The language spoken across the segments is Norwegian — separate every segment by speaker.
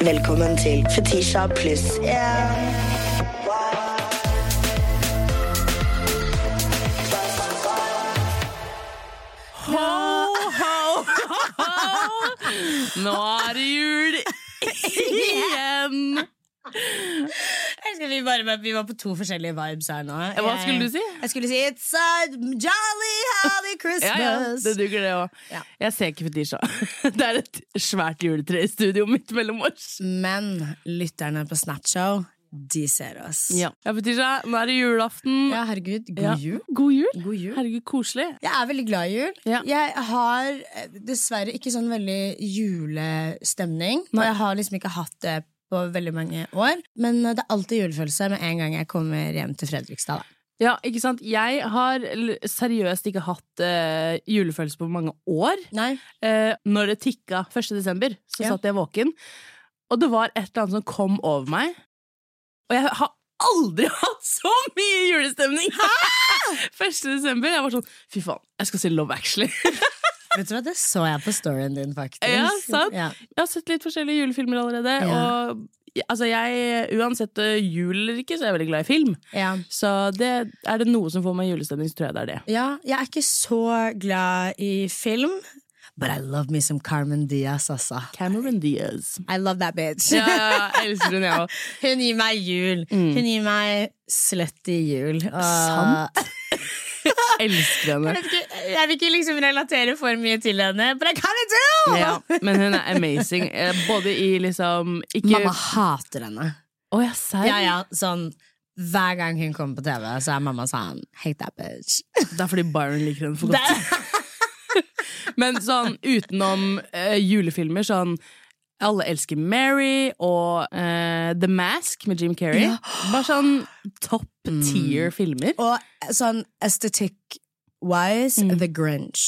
Speaker 1: Velkommen til Fetisha pluss én.
Speaker 2: Nå er det jul igjen!
Speaker 3: Jeg elsker at vi, bare, vi var på to forskjellige vibes her nå.
Speaker 2: Hva skulle du si?
Speaker 3: Jeg skulle si It's a jolly holly
Speaker 2: Ja, ja,
Speaker 3: Christmas.
Speaker 2: det duger, det òg.
Speaker 3: Ja.
Speaker 2: Jeg ser ikke Fetisha. Det er et svært juletre i studio midt mellom oss.
Speaker 3: Men lytterne på Snapshow, de ser oss.
Speaker 2: Ja, Fetisha, nå er det julaften.
Speaker 3: Ja, herregud. God
Speaker 2: Ja.
Speaker 3: jul.
Speaker 2: God jul.
Speaker 3: God jul.
Speaker 2: Herregud, koselig.
Speaker 3: Jeg er veldig glad i jul.
Speaker 2: Ja.
Speaker 3: Jeg har eh, dessverre ikke sånn veldig julestemning. Og jeg har liksom ikke hatt det på veldig mange år. Men eh, det er alltid julefølelse med en gang jeg kommer hjem til Fredrikstad. Da.
Speaker 2: Ja, ikke sant? Jeg har l- seriøst ikke hatt eh, julefølelse på mange år.
Speaker 3: Nei.
Speaker 2: Eh, når det tikka 1. desember, så
Speaker 3: Ja.
Speaker 2: satt jeg våken, og det var et eller annet som kom over meg. Og jeg har aldri hatt så mye julestemning! 1. desember. Jeg var sånn Fy faen, jeg skal se Love Actually.
Speaker 3: Vet du hva, det så jeg på storyen din, faktisk.
Speaker 2: Ja, sant?
Speaker 3: Ja.
Speaker 2: Jeg har sett litt forskjellige julefilmer allerede.
Speaker 3: Ja.
Speaker 2: Og altså, jeg, uansett eh, jul eller ikke, så er jeg veldig glad i film.
Speaker 3: Ja.
Speaker 2: Så det, er det noe som får meg i julestemning, så tror jeg det er det.
Speaker 3: Ja, jeg er ikke så glad i film. But I love me some Carmen Diaz, altså.
Speaker 2: Cameron Diaz.
Speaker 3: I love that bitch.
Speaker 2: Ja, Mm. ja, ja, jeg elsker hun, jeg òg.
Speaker 3: Hun gir meg jul. Hun gir meg slutty jul. Og-
Speaker 2: Sant. Elsker henne.
Speaker 3: Jeg, vet ikke, jeg vil ikke liksom relatere for mye til henne, but I kind of do!
Speaker 2: Ja, men hun er amazing. eh, Både i liksom ikke...
Speaker 3: Mamma hater henne.
Speaker 2: Å, ja, serr?
Speaker 3: Ja, ja, sånn hver gang hun kommer på TV, så er mamma sånn Hate that bitch.
Speaker 2: Det er fordi Byron liker henne for godt.
Speaker 3: Det-
Speaker 2: Men sånn utenom eh, julefilmer, sånn alle elsker Mary og eh, The Mask med Jim Carrey. Bare sånn top
Speaker 3: Mm.
Speaker 2: tier filmer.
Speaker 3: Og sånn estetikk-wise,
Speaker 2: Mm.
Speaker 3: The Grinch.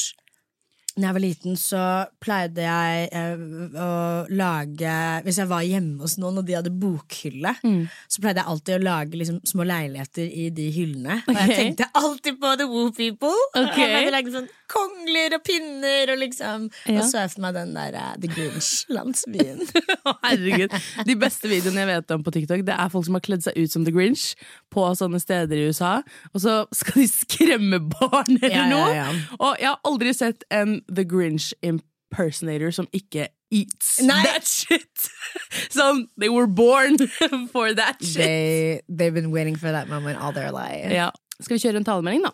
Speaker 3: Da jeg var liten, så pleide jeg eh, å lage Hvis jeg var hjemme hos noen, og de hadde bokhylle,
Speaker 2: Mm.
Speaker 3: så pleide jeg alltid å lage liksom, små leiligheter i de hyllene. Og jeg
Speaker 2: Ok.
Speaker 3: tenkte alltid på The Woo People.
Speaker 2: Ok.
Speaker 3: Jeg hadde laget sånn kongler og pinner og liksom
Speaker 2: Ja.
Speaker 3: Og så jeg for meg den der eh, The Grinch-landsbyen.
Speaker 2: Å, Herregud. De beste videoene jeg vet om på TikTok, det er folk som har kledd seg ut som The Grinch på sånne steder i USA, og så skal de skremme barn eller
Speaker 3: Ja, ja,
Speaker 2: noe.
Speaker 3: ja.
Speaker 2: Og jeg har aldri sett en The Grinch impersonator som ikke eats
Speaker 3: Nei.
Speaker 2: that shit. Sånn, they were born for that shit.
Speaker 3: They, they've been waiting for that moment all their life.
Speaker 2: Ja. Skal vi kjøre en talemelding, da?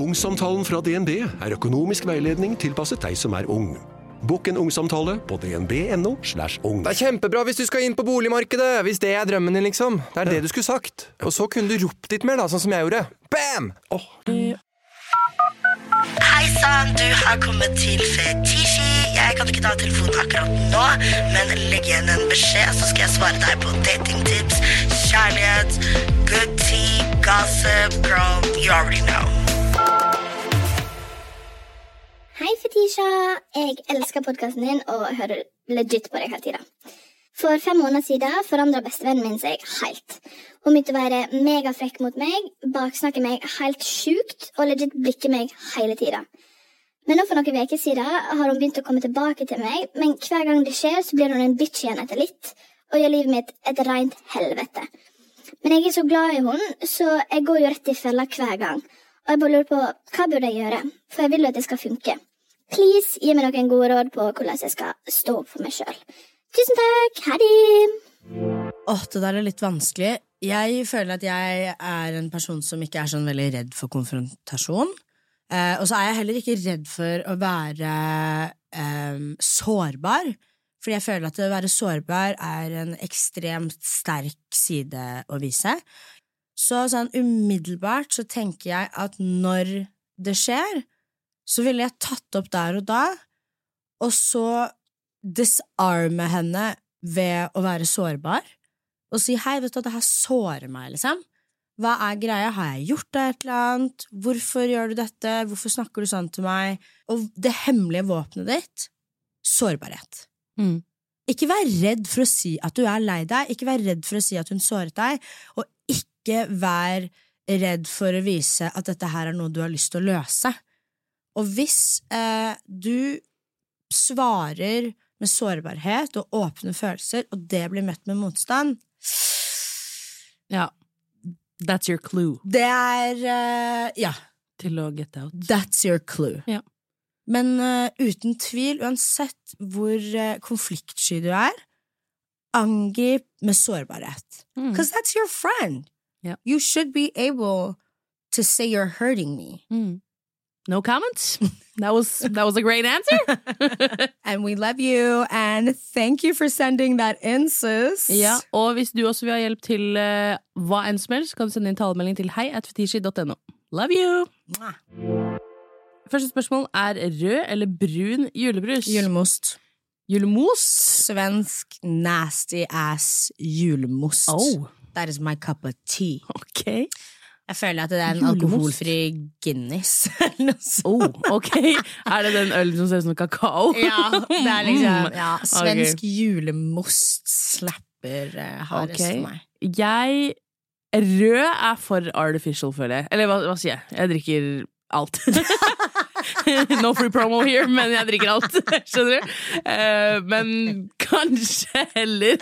Speaker 4: Ungsamtalen fra DNB er økonomisk veiledning tilpasset deg som er ung. Bokk en ungsamtale på dnb.no. slash ung.
Speaker 5: Det er kjempebra hvis du skal inn på boligmarkedet, hvis det er drømmen din, liksom. Det er det du skulle sagt. Og så kunne du ropt litt mer, da, sånn som jeg gjorde. Bam! Åh,
Speaker 1: Hei sann, du har kommet til Fetishi. Jeg kan ikke ta telefonen akkurat nå, men legg igjen en beskjed, så skal jeg svare deg på datingtips, kjærlighet, good tea, gossip, girl, you already know.
Speaker 6: Hei, Fetisha. Jeg elsker podkasten din og hører legit på deg hele tida. For fem måneder siden forandra bestevennen min seg helt. Hun begynte å være megafrekk mot meg, baksnakke meg helt sjukt og legit blikke meg hele tida. Men nå for noen uker siden har hun begynt å komme tilbake til meg, men hver gang det skjer, så blir hun en bitch igjen etter litt og gjør livet mitt et rent helvete. Men jeg er så glad i hunden, så jeg går jo rett i fella hver gang. Og jeg bare lurer på hva burde jeg gjøre, for jeg vil jo at det skal funke. Please gi meg noen gode råd på hvordan jeg skal stå opp for meg sjøl. Tusen takk! Ha det!
Speaker 3: Åh, det der er litt vanskelig. Jeg føler at jeg er en person som ikke er sånn veldig redd for konfrontasjon. Eh, og så er jeg heller ikke redd for å være eh, sårbar. Fordi jeg føler at å være sårbar er en ekstremt sterk side å vise. Så sånn umiddelbart så tenker jeg at når det skjer, så ville jeg tatt opp der og da, og så disarme henne ved å være sårbar og si hei, vet du, det her sårer meg, liksom. Hva er greia? Har jeg gjort deg et eller annet? Hvorfor gjør du dette? Hvorfor snakker du sånn til meg? Og det hemmelige våpenet ditt sårbarhet.
Speaker 2: Mm.
Speaker 3: Ikke vær redd for å si at du er lei deg, ikke vær redd for å si at hun såret deg, og ikke vær redd for å vise at dette her er noe du har lyst til å løse. Og hvis eh, du svarer med sårbarhet og åpne følelser, og det blir møtt med motstand,
Speaker 2: Ja. That's your clue
Speaker 3: det er eh, Ja,
Speaker 2: til å get out.
Speaker 3: that's your clue.
Speaker 2: Ja.
Speaker 3: Men eh, uten tvil, uansett hvor eh, konfliktsky du er, angrip med sårbarhet.
Speaker 2: Mm.
Speaker 3: Because that's your friend.
Speaker 2: Ja.
Speaker 3: You should be able to say you're hurting me.
Speaker 2: Mm. No comments. That was, that was a great answer.
Speaker 3: And we love you, and thank you for sending that in, sis.
Speaker 2: Ja, og hvis du også vil ha hjelp til eh, hva enn som helst, kan du sende inn talemelding til hei at fetishi.no. Love you!
Speaker 3: Mwah.
Speaker 2: Første spørsmål er rød eller brun julebrus?
Speaker 3: Julemost.
Speaker 2: Julemos?
Speaker 3: Svensk nasty ass julemost.
Speaker 2: Oh,
Speaker 3: That is my cup of tea.
Speaker 2: ok.
Speaker 3: Jeg føler at det er en
Speaker 2: Julemost?
Speaker 3: alkoholfri Guinness. eller noe sånt.
Speaker 2: Oh, ok. Er det den ølen som ser ut som kakao?
Speaker 3: Ja, det er liksom ja, Svensk
Speaker 2: Ok.
Speaker 3: julemost slapper eh, hardest
Speaker 2: Ok.
Speaker 3: for meg.
Speaker 2: Jeg Rød er for artificial, føler jeg. Eller hva, hva sier jeg? Jeg drikker alt. no free promo here, men jeg drikker alt. Skjønner du? Eh, men kanskje heller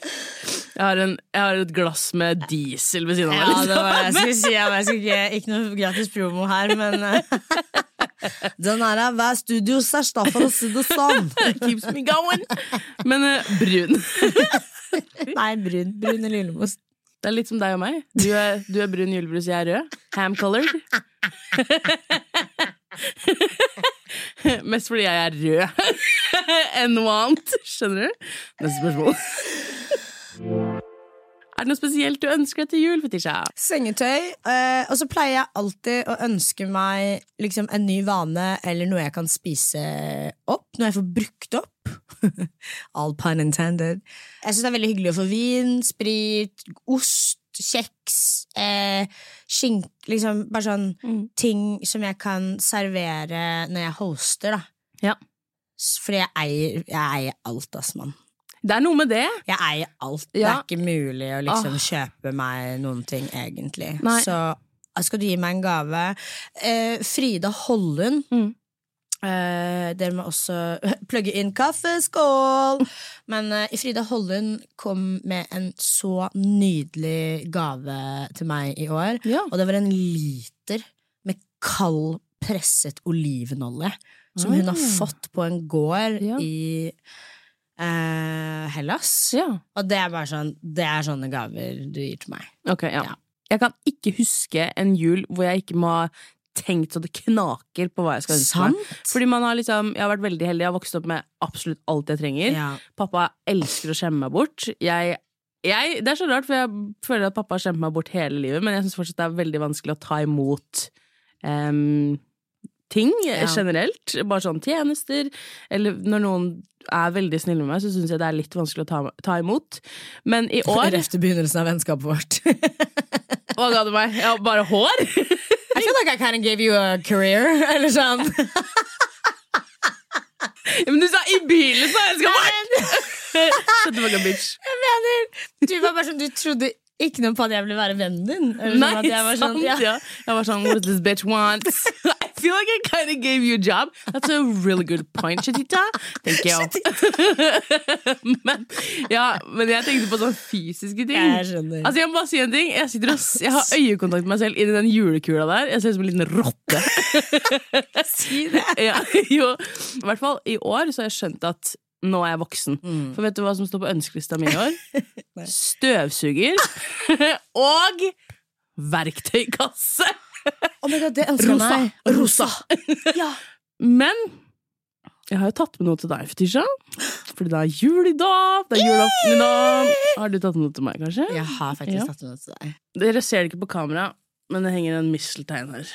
Speaker 2: jeg har, en, jeg har et glass med diesel ved siden av meg.
Speaker 3: Ja, det
Speaker 2: liksom.
Speaker 3: var det jeg skulle si. Jeg skulle ikke, ikke noe gratis promo her, men eh, Den her er hver studios erstatter, for å si det sånn.
Speaker 2: Keeps me going. Men eh, brun.
Speaker 3: Nei, brun, brun eller julemost.
Speaker 2: Det er litt som deg og meg. Du er, du er brun julebrus, jeg er rød. Ham colored. Mest fordi jeg er rød enn noe annet. Skjønner du? Neste spørsmål. Er det noe spesielt du ønsker deg til jul, Fetisha?
Speaker 3: Sengetøy. eh, og så pleier jeg alltid å ønske meg liksom, en ny vane eller noe jeg kan spise opp når jeg får brukt opp. All pun intended. Jeg syns det er veldig hyggelig å få vin, sprit, ost, kjeks, eh, skink Liksom bare sånn ting som jeg kan servere når jeg hoster, da.
Speaker 2: Ja.
Speaker 3: S- Fordi jeg eier, jeg eier alt, ass, mann.
Speaker 2: Det er noe med det.
Speaker 3: Jeg eier alt.
Speaker 2: Ja.
Speaker 3: Det er ikke mulig å liksom kjøpe meg noen ting, egentlig.
Speaker 2: Nei.
Speaker 3: Så ah, skal du gi meg en gave eh, Frida Hollund.
Speaker 2: Mm.
Speaker 3: Eh, dere må også plugge inn kaffeskål! Men eh, Frida Hollund kom med en så nydelig gave til meg i år.
Speaker 2: Ja.
Speaker 3: Og det var en liter med kald, presset olivenolje. Som hun har
Speaker 2: Ah.
Speaker 3: fått på en gård
Speaker 2: Ja.
Speaker 3: i eh, Hellas.
Speaker 2: ja.
Speaker 3: Og det er bare sånn Det er sånne gaver du gir til meg.
Speaker 2: Ok, ja.
Speaker 3: Ja.
Speaker 2: Jeg kan ikke huske en jul hvor jeg ikke må ha tenkt så det knaker på hva jeg skal ønske meg. Fordi man har liksom, Jeg har vært veldig heldig. Jeg har vokst opp med absolutt alt jeg trenger.
Speaker 3: Ja.
Speaker 2: Pappa elsker å skjemme meg bort. Jeg, jeg, det er så rart, for jeg føler at pappa har skjemt meg bort hele livet, men jeg syns fortsatt det er veldig vanskelig å ta imot em, ting eh,
Speaker 3: Ja.
Speaker 2: generelt. Bare sånn tjenester. Eller når noen er veldig snille med meg, så syns jeg det er litt vanskelig å ta, ta imot. Men i år
Speaker 3: Rett til begynnelsen av vennskapet vårt.
Speaker 2: Hva ga du meg? Ja, bare hår?
Speaker 3: I feel like I kind of gave you a career, eller sånn.
Speaker 2: Ja, men du sa i begynnelsen av vennskapet vårt! Shut the fuck up, bitch.
Speaker 3: Jeg mener, du var bare sånn Du trodde ikke noe på at jeg ville være vennen din. Eller sånn
Speaker 2: Nei,
Speaker 3: at jeg var sånn,
Speaker 2: sant, ja. Jeg var sånn, what does this bitch want? I feel like I kind of gave you a job. That's a really good point, Shatita. Thank you. men, ja, men jeg tenkte på sånne fysiske ting.
Speaker 3: Jeg skjønner.
Speaker 2: Altså, jeg må bare si en ting. Jeg, sitter og, s- jeg har øyekontakt med meg selv inni den julekula der. Jeg ser ut som en liten rotte.
Speaker 3: Si det.
Speaker 2: ja, jo. I hvert fall i år så har jeg skjønt at nå er jeg voksen.
Speaker 3: Mm.
Speaker 2: For vet du hva som står på ønskelista mi i år? Støvsuger og verktøykasse.
Speaker 3: Oh my God, det ønsker jeg meg.
Speaker 2: Rosa.
Speaker 3: Ja.
Speaker 2: Men jeg har jo tatt med noe til deg, Fetisha. Fordi det er jul i dag. Det er julaften i dag. Har du tatt med noe til meg, kanskje?
Speaker 3: Jeg har
Speaker 2: Ja.
Speaker 3: faktisk tatt med noe til deg.
Speaker 2: Dere ser det ikke på kamera, men det henger en misteltein her.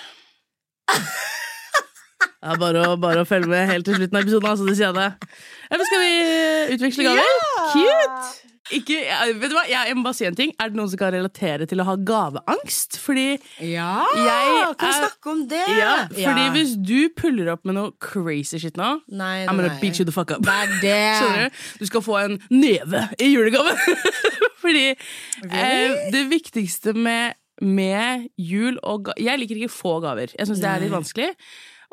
Speaker 2: Det er bare å, bare å følge med helt til slutten av episoden. Altså, det sier jeg det. Ja, men skal vi eh, utveksle gaver? Cute! Ikke, jeg, vet du hva, jeg, jeg må bare si en ting. Er det noen som kan relatere til å ha gaveangst? Fordi
Speaker 3: Ja,
Speaker 2: Jeg
Speaker 3: kan vi
Speaker 2: er-
Speaker 3: snakke om det?
Speaker 2: Ja, fordi
Speaker 3: Ja.
Speaker 2: hvis du puller opp med noe crazy shit nå
Speaker 3: Nei,
Speaker 2: I'm gonna
Speaker 3: nei.
Speaker 2: beat you the fuck up.
Speaker 3: Det er det.
Speaker 2: Skjønner du? Du skal få en neve i julegave. fordi eh, det viktigste med, med jul og ga Jeg liker ikke få gaver. Jeg syns det er litt vanskelig.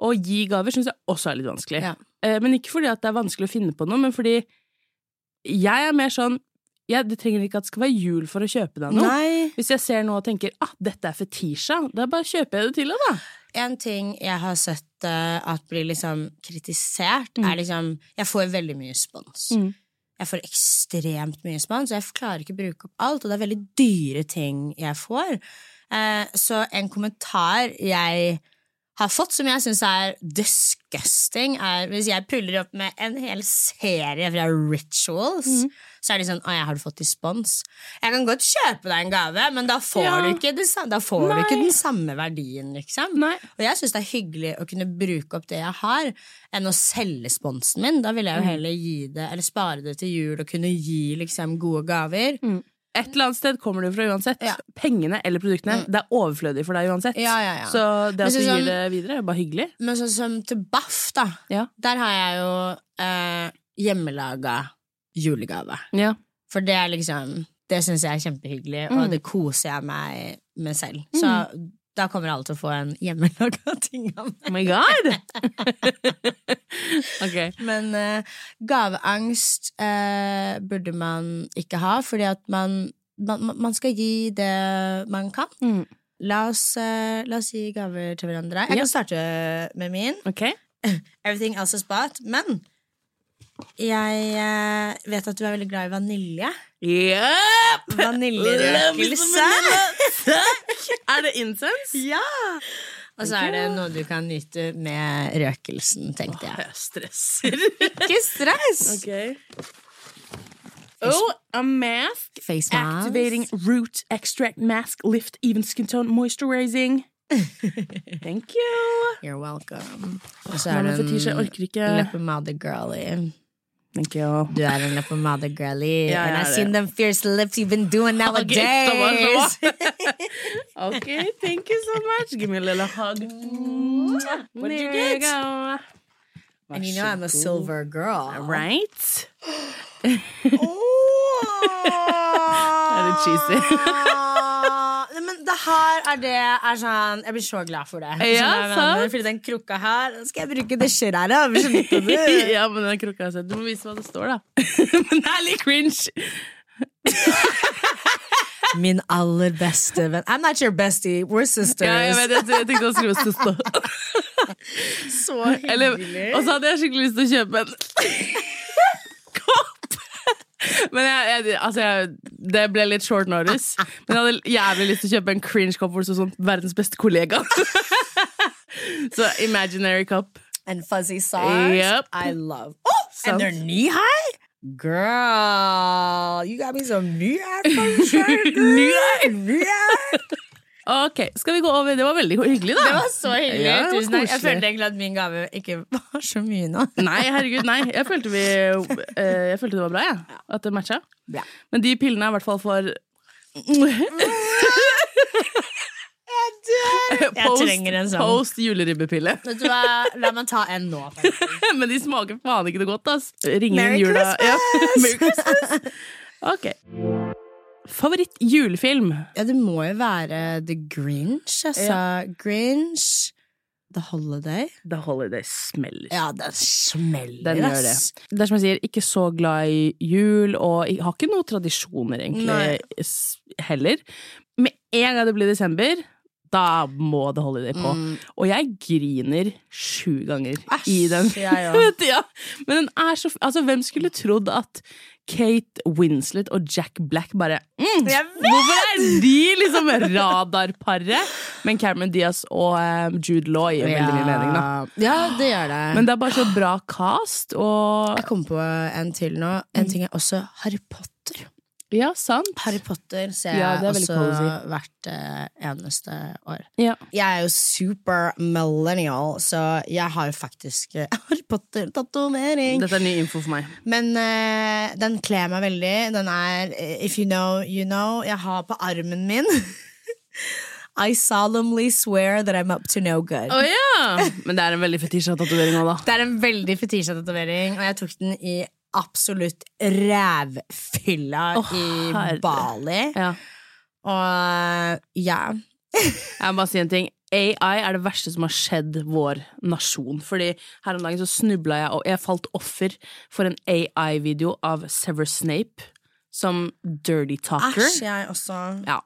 Speaker 2: Å gi gaver syns jeg også er litt vanskelig.
Speaker 3: Ja.
Speaker 2: Eh, men ikke fordi at det er vanskelig å finne på noe, men fordi jeg er mer sånn jeg, Det trenger ikke at det skal være jul for å kjøpe deg noe.
Speaker 3: Nei.
Speaker 2: Hvis jeg ser noe og tenker at ah, dette er fetisja, da bare kjøper jeg det til henne, da.
Speaker 3: En ting jeg har sett eh, at blir liksom kritisert, er liksom Jeg får veldig mye spons.
Speaker 2: Mm.
Speaker 3: Jeg får ekstremt mye spons, og jeg klarer ikke å bruke opp alt. Og det er veldig dyre ting jeg får. Eh, så en kommentar jeg har fått som jeg syns er disgusting, er hvis jeg puller opp med en hel serie fra Rituals,
Speaker 2: Mm.
Speaker 3: så er de sånn 'Å, jeg har du fått i spons?' Jeg kan godt kjøpe deg en gave, men da får,
Speaker 2: Ja.
Speaker 3: du, ikke det, sa- da får du
Speaker 2: Nei.
Speaker 3: ikke den samme verdien, liksom.
Speaker 2: Nei.
Speaker 3: Og jeg syns det er hyggelig å kunne bruke opp det jeg har, enn å selge sponsen min. Da vil jeg jo
Speaker 2: Mm.
Speaker 3: heller gi det, eller spare det til jul og kunne gi liksom gode gaver.
Speaker 2: Mm. Et eller annet sted kommer du fra uansett.
Speaker 3: Ja. Mm.
Speaker 2: Pengene eller produktene. Det er overflødig for deg uansett.
Speaker 3: Ja, ja, ja.
Speaker 2: Så det
Speaker 3: Men
Speaker 2: at du gir
Speaker 3: sånn-
Speaker 2: det videre, er bare hyggelig.
Speaker 3: Men sånn som til Baff, da,
Speaker 2: Ja.
Speaker 3: der har jeg jo eh, hjemmelaga julegave.
Speaker 2: Ja.
Speaker 3: For det er liksom Det syns jeg er kjempehyggelig,
Speaker 2: Mm.
Speaker 3: og det koser jeg meg med selv. Så da kommer alle til å få en hjemmelaga ting av meg.
Speaker 2: Oh my god! ok.
Speaker 3: Men eh, gaveangst eh, burde man ikke ha, fordi at man, man, man skal gi det man kan.
Speaker 2: Mm.
Speaker 3: La oss, eh, la oss gi gaver til hverandre.
Speaker 2: Ja.
Speaker 3: Jeg kan starte med min.
Speaker 2: Ok.
Speaker 3: Everything else is bought. Men jeg eh, vet at du er veldig glad i vanilje.
Speaker 2: Yep!
Speaker 3: Vaniljerøkelse.
Speaker 2: Er det incense?
Speaker 3: Ja! Og så er det noe du kan nyte med røkelsen, tenkte jeg.
Speaker 2: Jeg stresser.
Speaker 3: Ikke stress!
Speaker 2: ok. Oh, a mask.
Speaker 3: Face mask.
Speaker 2: Activating root extract mask lift even skin tone moisturizing. Thank you.
Speaker 3: You're welcome. Og så
Speaker 2: Mamma
Speaker 3: er du
Speaker 2: Fetisha
Speaker 3: en
Speaker 2: orker ikke.
Speaker 3: leppepomade girlie.
Speaker 2: Thank you.
Speaker 3: Du er en leppepomade girlie.
Speaker 2: Ja,
Speaker 3: And
Speaker 2: jeg
Speaker 3: I've
Speaker 2: er
Speaker 3: seen them fierce lips you've been doing
Speaker 2: Ok,
Speaker 3: nowadays.
Speaker 2: stopp, stopp. ok, thank you so much. Give me a little hug. What did you get?
Speaker 3: And you know I'm a silver girl.
Speaker 2: Right?
Speaker 3: er
Speaker 2: det cheesy?
Speaker 3: Men det her er det er sånn Jeg blir så glad for det. Skjønner
Speaker 2: Ja,
Speaker 3: du hva jeg mener?
Speaker 2: sant.
Speaker 3: Fordi den krukka her den skal jeg bruke det skjøret her. Skjønner du?
Speaker 2: ja, men den krukka har jeg sett. Du må vise hva det står, da. men det er litt cringe.
Speaker 3: Min aller beste venn. I'm not your bestie, we're sisters.
Speaker 2: Ja, jeg, vet, jeg, jeg tenkte å skrive søster.
Speaker 3: Så
Speaker 2: Eller,
Speaker 3: hyggelig.
Speaker 2: og så hadde jeg skikkelig lyst til å kjøpe en kopp. Men jeg, jeg, altså jeg, det ble litt short notice. Men jeg hadde jævlig lyst til å kjøpe en cringe kopp hvor det sto sånn 'verdens beste kollega'. Så imaginary cup.
Speaker 3: and fuzzy socks.
Speaker 2: Yep.
Speaker 3: I love. Oh,
Speaker 2: Sant.
Speaker 3: and they're knee high. Girl, you got me some knee high shirt. knee high, knee high.
Speaker 2: Ok, skal vi gå over? Det var veldig hyggelig, da.
Speaker 3: Det var så hyggelig.
Speaker 2: Ja, det var
Speaker 3: Tusen takk. Jeg
Speaker 2: koselig.
Speaker 3: følte egentlig at min gave ikke var så mye nå.
Speaker 2: Nei, herregud, nei. Jeg følte, vi, eh, jeg følte det var bra, jeg. At det matcha.
Speaker 3: Bra.
Speaker 2: Men de pillene er i hvert fall for Post-
Speaker 3: trenger en sånn.
Speaker 2: Post juleribbepille.
Speaker 3: Vet du hva? La meg ta en nå. faktisk.
Speaker 2: Men de smaker faen ikke noe godt, ass. Ring
Speaker 3: Merry
Speaker 2: inn jula. Ja.
Speaker 3: Christmas!
Speaker 2: Merry Christmas! Ok. Favoritt julefilm?
Speaker 3: Ja, det må jo være The Grinch. Altså, Grinch The Holiday.
Speaker 2: The Holiday Smeller.
Speaker 3: Ja, den smeller,
Speaker 2: Den gjør det.
Speaker 3: ass.
Speaker 2: Det er som jeg sier, ikke så glad i jul, og jeg har ikke noen tradisjoner egentlig
Speaker 3: Nei.
Speaker 2: s- heller. Med en gang det blir desember, da må det holiday på. Og jeg griner sju ganger i den.
Speaker 3: jeg
Speaker 2: Vet du, ja. Men den er så f- Altså, hvem skulle trodd at Kate Winslet og Jack Black bare mm, Hvorfor er de liksom radarparet? Men Cameron Diaz og eh, Jude Law gir veldig mye mening, da.
Speaker 3: Ja, det gjør det.
Speaker 2: Men det er bare så bra cast, og
Speaker 3: Jeg kom på en til nå. En ting er også Harry Potter.
Speaker 2: Ja, sant.
Speaker 3: Harry Potter ser
Speaker 2: Ja,
Speaker 3: jeg
Speaker 2: det er veldig
Speaker 3: også
Speaker 2: cozy.
Speaker 3: hvert eh, eneste år.
Speaker 2: Ja.
Speaker 3: Jeg er jo super millennial, så jeg har jo faktisk eh, Harry Potter-tatovering.
Speaker 2: Dette er ny info for meg.
Speaker 3: Men eh, den kler meg veldig. Den er eh, If you know, you know. Jeg har på armen min I solemnly swear that I'm up to no good.
Speaker 2: Å ja! Men det er en veldig fetisja tatovering òg, da.
Speaker 3: Det er en veldig fetisja-tatovering, og jeg tok den i absolutt rævfylla
Speaker 2: Åh,
Speaker 3: i
Speaker 2: herre.
Speaker 3: Bali.
Speaker 2: Ja.
Speaker 3: Og ja.
Speaker 2: Jeg må bare si en ting. AI er det verste som har skjedd vår nasjon. Fordi her om dagen så snubla jeg, og jeg falt offer for en AI-video av Severus Snape som dirty talker.
Speaker 3: Æsj, jeg også.
Speaker 2: Ja.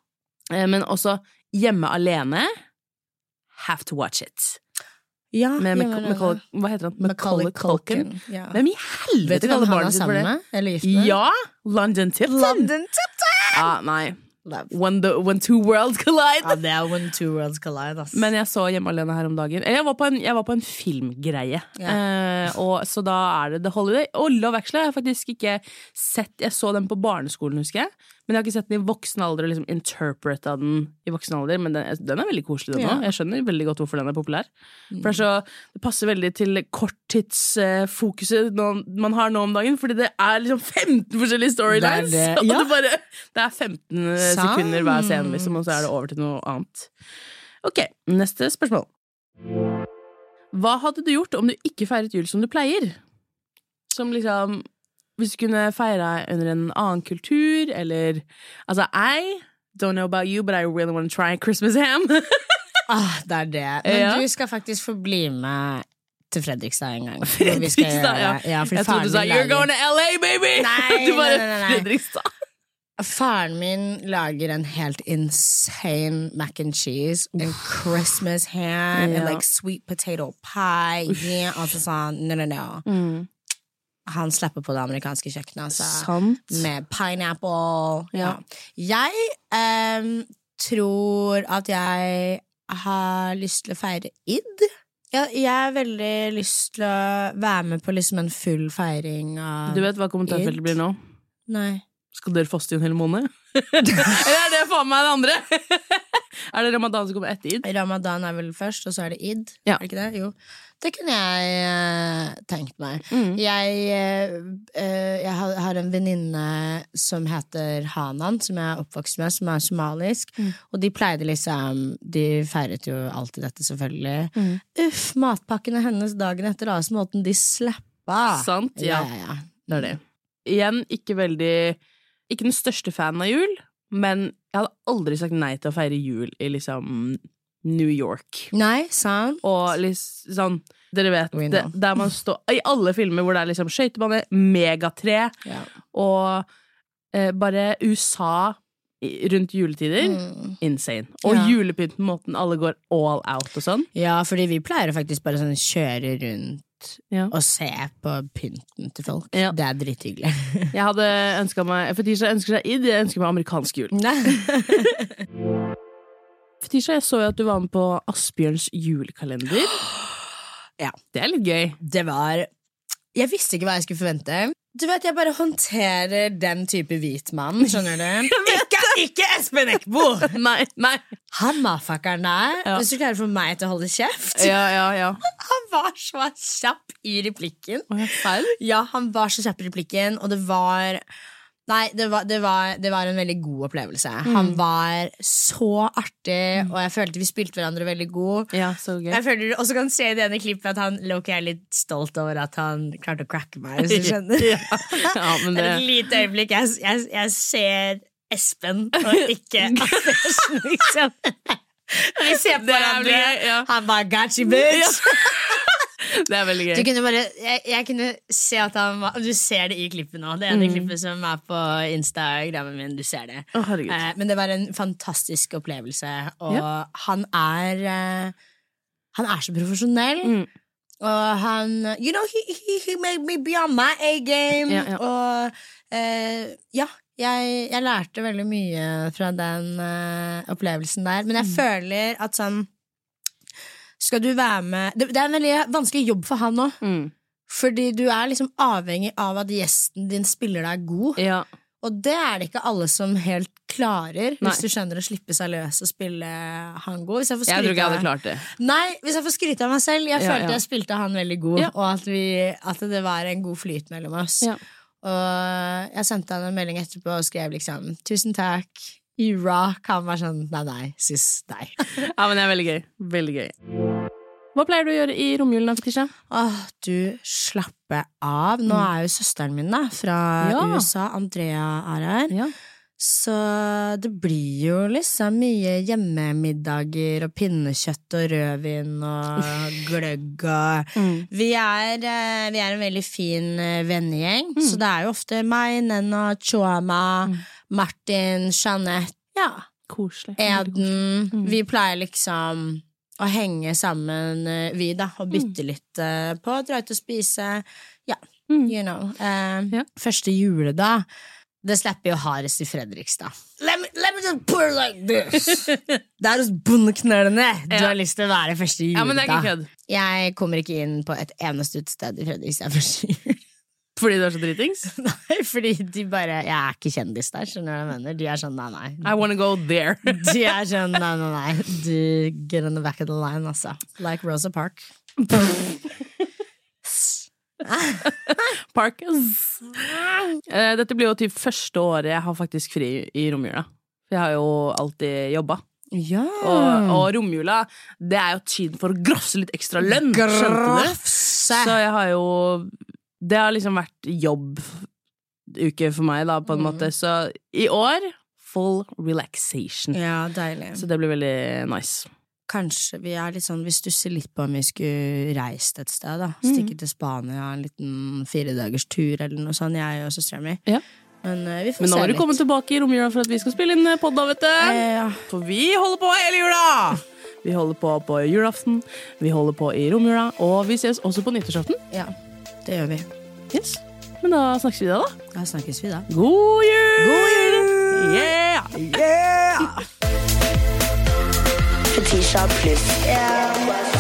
Speaker 2: Eh, Men også Hjemme alene. Have to watch it.
Speaker 3: Ja,
Speaker 2: Med
Speaker 3: jeg
Speaker 2: Maca-
Speaker 3: mener
Speaker 2: Macaulay,
Speaker 3: det.
Speaker 2: hva heter han?
Speaker 3: Macaulay Culkin. Ja.
Speaker 2: Hvem i
Speaker 3: Vet du
Speaker 2: helvete
Speaker 3: hvem
Speaker 2: kaller
Speaker 3: han er
Speaker 2: barnet sitt for
Speaker 3: sammen
Speaker 2: det?
Speaker 3: med? Eller gift med?
Speaker 2: Ja! London Tipton.
Speaker 3: London Tipton!
Speaker 2: Ja, Ah, nei.
Speaker 3: Love.
Speaker 2: When, the, when two worlds collide.
Speaker 3: Ja, det er When Two Worlds Collide, ass.
Speaker 2: Men jeg så Hjemme alene her om dagen. Eller, Jeg var på en, jeg var på en filmgreie. Eh, og, så da er det The Holiday. Og Love Actually har jeg faktisk ikke sett. Jeg så den på barneskolen, husker jeg. Men jeg har ikke sett den i voksen alder og liksom interpreta den i voksen alder. Men den, den er veldig koselig, den
Speaker 3: Ja. Mm.
Speaker 2: òg. Jeg skjønner veldig godt hvorfor den er populær. For det, er så, det passer veldig til korttidsfokuset man har nå om dagen. Fordi det er liksom 15 forskjellige storylines!
Speaker 3: Det er det,
Speaker 2: Og
Speaker 3: ja.
Speaker 2: det, bare, det er eh, 15 sekunder hver scene,
Speaker 3: Sant.
Speaker 2: liksom, og så er det over til noe annet. Ok, neste spørsmål. Hva hadde du gjort om du ikke feiret jul som du pleier? Som liksom Hvis du kunne feira under en annen kultur, eller Altså, I don't know about you, but I really want to try Christmas ham.
Speaker 3: ah, det er det. Men
Speaker 2: Ja.
Speaker 3: du skal faktisk få bli med til Fredrikstad en gang. hvor vi skal
Speaker 2: Fredrikstad,
Speaker 3: gjøre-
Speaker 2: ja.
Speaker 3: ja fordi
Speaker 2: Jeg trodde
Speaker 3: faren
Speaker 2: du sa
Speaker 3: min
Speaker 2: 'You're
Speaker 3: lager-
Speaker 2: going to LA, baby'!
Speaker 3: Nei,
Speaker 2: du bare
Speaker 3: nei, nei, nei.
Speaker 2: Fredrikstad.
Speaker 3: Faren min lager en helt insane mac and cheese and Christmas ham and
Speaker 2: Ja.
Speaker 3: like sweet potato pie. Yeah, altså sånn, no, no, no. Han slipper på det amerikanske kjøkkenet, altså.
Speaker 2: Sant.
Speaker 3: Med pineapple.
Speaker 2: Ja.
Speaker 3: Ja. Jeg em, tror at jeg har lyst til å feire id. Jeg, jeg har veldig lyst til å være med på liksom en full feiring av
Speaker 2: Du vet hva kommentarfeltet blir nå?
Speaker 3: Nei.
Speaker 2: Skal dere faste i en hel måned? Eller er det faen meg det andre? er det ramadan som kommer etter id?
Speaker 3: Ramadan er vel først, og så er det id.
Speaker 2: Ja.
Speaker 3: Er det ikke det? Jo. Det kunne jeg eh, tenkt meg.
Speaker 2: Mm.
Speaker 3: Jeg, eh, eh, jeg har, har en venninne som heter Hanan, som jeg er oppvokst med, som er somalisk. Og de pleide liksom De feiret jo alltid dette, selvfølgelig. Uff, matpakkene hennes dagen etter, da, så måten de slappa.
Speaker 2: Sant, ja.
Speaker 3: ja, ja. Det er det.
Speaker 2: Igjen, ikke veldig Ikke den største fanen av jul, men jeg hadde aldri sagt nei til å feire jul i liksom New York.
Speaker 3: Nei, sant?
Speaker 2: Og liksom sånn Dere vet,
Speaker 3: We
Speaker 2: det,
Speaker 3: know.
Speaker 2: der man står I alle filmer hvor det er liksom skøytebane, megatre
Speaker 3: Ja.
Speaker 2: og eh, bare USA i- rundt juletider. Insane. Og
Speaker 3: Mm. Ja.
Speaker 2: julepynten, måten alle går all out og sånn.
Speaker 3: Ja, fordi vi pleier å faktisk bare sånn kjøre rundt
Speaker 2: Ja.
Speaker 3: og se på pynten til folk.
Speaker 2: Ja.
Speaker 3: Det er drithyggelig.
Speaker 2: Jeg hadde ønsket meg Fetisha ønsker seg id, jeg ønsker meg amerikansk jul. Fetisha, jeg så jo at du var med på Asbjørns julekalender.
Speaker 3: Ja.
Speaker 2: Det er litt gøy.
Speaker 3: Det var Jeg visste ikke hva jeg skulle forvente. Du vet, Jeg bare håndterer den type hvit mann, skjønner du. Ikke, ikke Espen Eckbo!
Speaker 2: Nei, nei.
Speaker 3: Han mafakkeren der.
Speaker 2: Ja.
Speaker 3: Hvis du klarer å få meg til å holde kjeft.
Speaker 2: Ja, ja, ja.
Speaker 3: Han var så kjapp i replikken.
Speaker 2: Å, ja, feil.
Speaker 3: Ja, han var så kjapp i replikken, og det var Nei, det var, det, var, det var en veldig god opplevelse.
Speaker 2: Mm.
Speaker 3: Han var så artig, og jeg følte vi spilte hverandre veldig god.
Speaker 2: Ja, så gøy.
Speaker 3: Jeg føler du også kan se i det ene klippet at han Loki er litt stolt over at han klarte å cracke meg. Hvis du skjønner
Speaker 2: Ja. Ja, men
Speaker 3: det er et
Speaker 2: det-
Speaker 3: lite øyeblikk jeg, jeg, jeg ser Espen og ikke Andersen, liksom. Vi ser på
Speaker 2: Det er
Speaker 3: hverandre.
Speaker 2: jævlig gøy, ja.
Speaker 3: Han bare got you, bitch!
Speaker 2: Det er veldig
Speaker 3: Du
Speaker 2: gøy.
Speaker 3: kunne bare, jeg, jeg kunne se at han var Du ser det i klippet nå. Det
Speaker 2: Mm.
Speaker 3: ene klippet som er på Instagrammen min. Du ser det.
Speaker 2: Å, herregud.
Speaker 3: Eh, men det var en fantastisk opplevelse, og
Speaker 2: Ja.
Speaker 3: han er eh, Han er så profesjonell.
Speaker 2: Mm.
Speaker 3: Og han You know, he, he, he made me be on my A-game.
Speaker 2: Ja, ja.
Speaker 3: Og eh, ja, jeg, jeg lærte veldig mye fra den eh, opplevelsen der.
Speaker 2: Mm.
Speaker 3: Men jeg føler at sånn Skal du være med Det, det er en veldig vanskelig jobb for han òg.
Speaker 2: Mm.
Speaker 3: Fordi du er liksom avhengig av at gjesten din spiller deg god.
Speaker 2: Ja.
Speaker 3: Og det er det ikke alle som helt klarer,
Speaker 2: Nei.
Speaker 3: hvis du skjønner å slippe seg løs og spille hango. Hvis jeg får
Speaker 2: Jeg tror
Speaker 3: skryte
Speaker 2: ikke jeg
Speaker 3: av-
Speaker 2: hadde klart det.
Speaker 3: Nei, hvis jeg får skryte av meg selv. Jeg
Speaker 2: Ja,
Speaker 3: følte
Speaker 2: ja.
Speaker 3: jeg spilte han veldig god,
Speaker 2: Ja.
Speaker 3: og at, vi, at det var en god flyt mellom oss.
Speaker 2: Ja.
Speaker 3: Og jeg sendte han en melding etterpå og skrev liksom 'tusen takk'. You rock. Han var sånn 'nei, nei, syns deg'.
Speaker 2: Ja, men det er veldig gøy. Veldig gøy. Hva pleier du å gjøre i romjulen, Fetisha?
Speaker 3: Åh, du, slappe av. Nå er jo søsteren min da, fra
Speaker 2: Mm. Ja.
Speaker 3: USA, Andrea, er her.
Speaker 2: Ja.
Speaker 3: Så det blir jo liksom mye hjemmemiddager og pinnekjøtt og rødvin og gløgg og vi, er, eh, vi er en veldig fin eh, vennegjeng, så det er jo ofte meg, Nenna, Choma, Martin, Jeanette. Ja.
Speaker 2: Koselig.
Speaker 3: Eden.
Speaker 2: Mm.
Speaker 3: Vi pleier liksom å henge sammen, eh, vi, da, og bytte litt eh, på. Dra ut og spise. Ja,
Speaker 2: Mm.
Speaker 3: you know. Eh,
Speaker 2: Ja.
Speaker 3: Første juledag. Det slipper jo hardest i Fredrikstad. Let me, let me just put it like this! det er hos bondeknølene du
Speaker 2: Ja.
Speaker 3: har lyst til å være første
Speaker 2: Ja, men det er ikke
Speaker 3: juledag.
Speaker 2: kødd.
Speaker 3: jeg kommer ikke inn på et eneste utested i Fredrikstad første jul.
Speaker 2: Fordi du er så dritings?
Speaker 3: Nei, fordi de bare Jeg er ikke kjendis der, skjønner du hva jeg mener? De er sånn nei, nei.
Speaker 2: I wanna go there.
Speaker 3: De er sånn, nei, nei, nei Du get on the back of the line, altså Like Rosa Park
Speaker 2: Park. Eh, Dette blir jo typ første året jeg har faktisk fri i romjula. For jeg har jo alltid jobba.
Speaker 3: Ja Mm.
Speaker 2: Og, og romjula, det er jo tiden for å grafse litt ekstra lønn. Skjønte du?
Speaker 3: Grafse
Speaker 2: Så jeg har jo Det har liksom vært jobbuke for meg, da, på en
Speaker 3: Mm.
Speaker 2: måte. Så i år full relaxation.
Speaker 3: Ja, deilig
Speaker 2: Så det blir veldig nice.
Speaker 3: Kanskje vi er litt sånn Vi stusser litt på om vi skulle reist et sted da Stikke til Spania En liten fire dagers tur Eller noe sånt Jeg og søsteren min
Speaker 2: Ja.
Speaker 3: Men eh, vi får
Speaker 2: Men nå
Speaker 3: se
Speaker 2: må du
Speaker 3: litt
Speaker 2: komme tilbake i romjula for at vi skal spille inn pod, da, vet du.
Speaker 3: Eh, ja.
Speaker 2: For vi holder på hele jula! Vi holder på på julaften, vi holder på i romjula, og vi ses også på nyttårsaften.
Speaker 3: ja, det gjør vi
Speaker 2: Yes. Men da snakkes vi da, da.
Speaker 3: Da snakkes vi da
Speaker 2: God jul! God jul! Yeah!
Speaker 1: Fetisha pluss.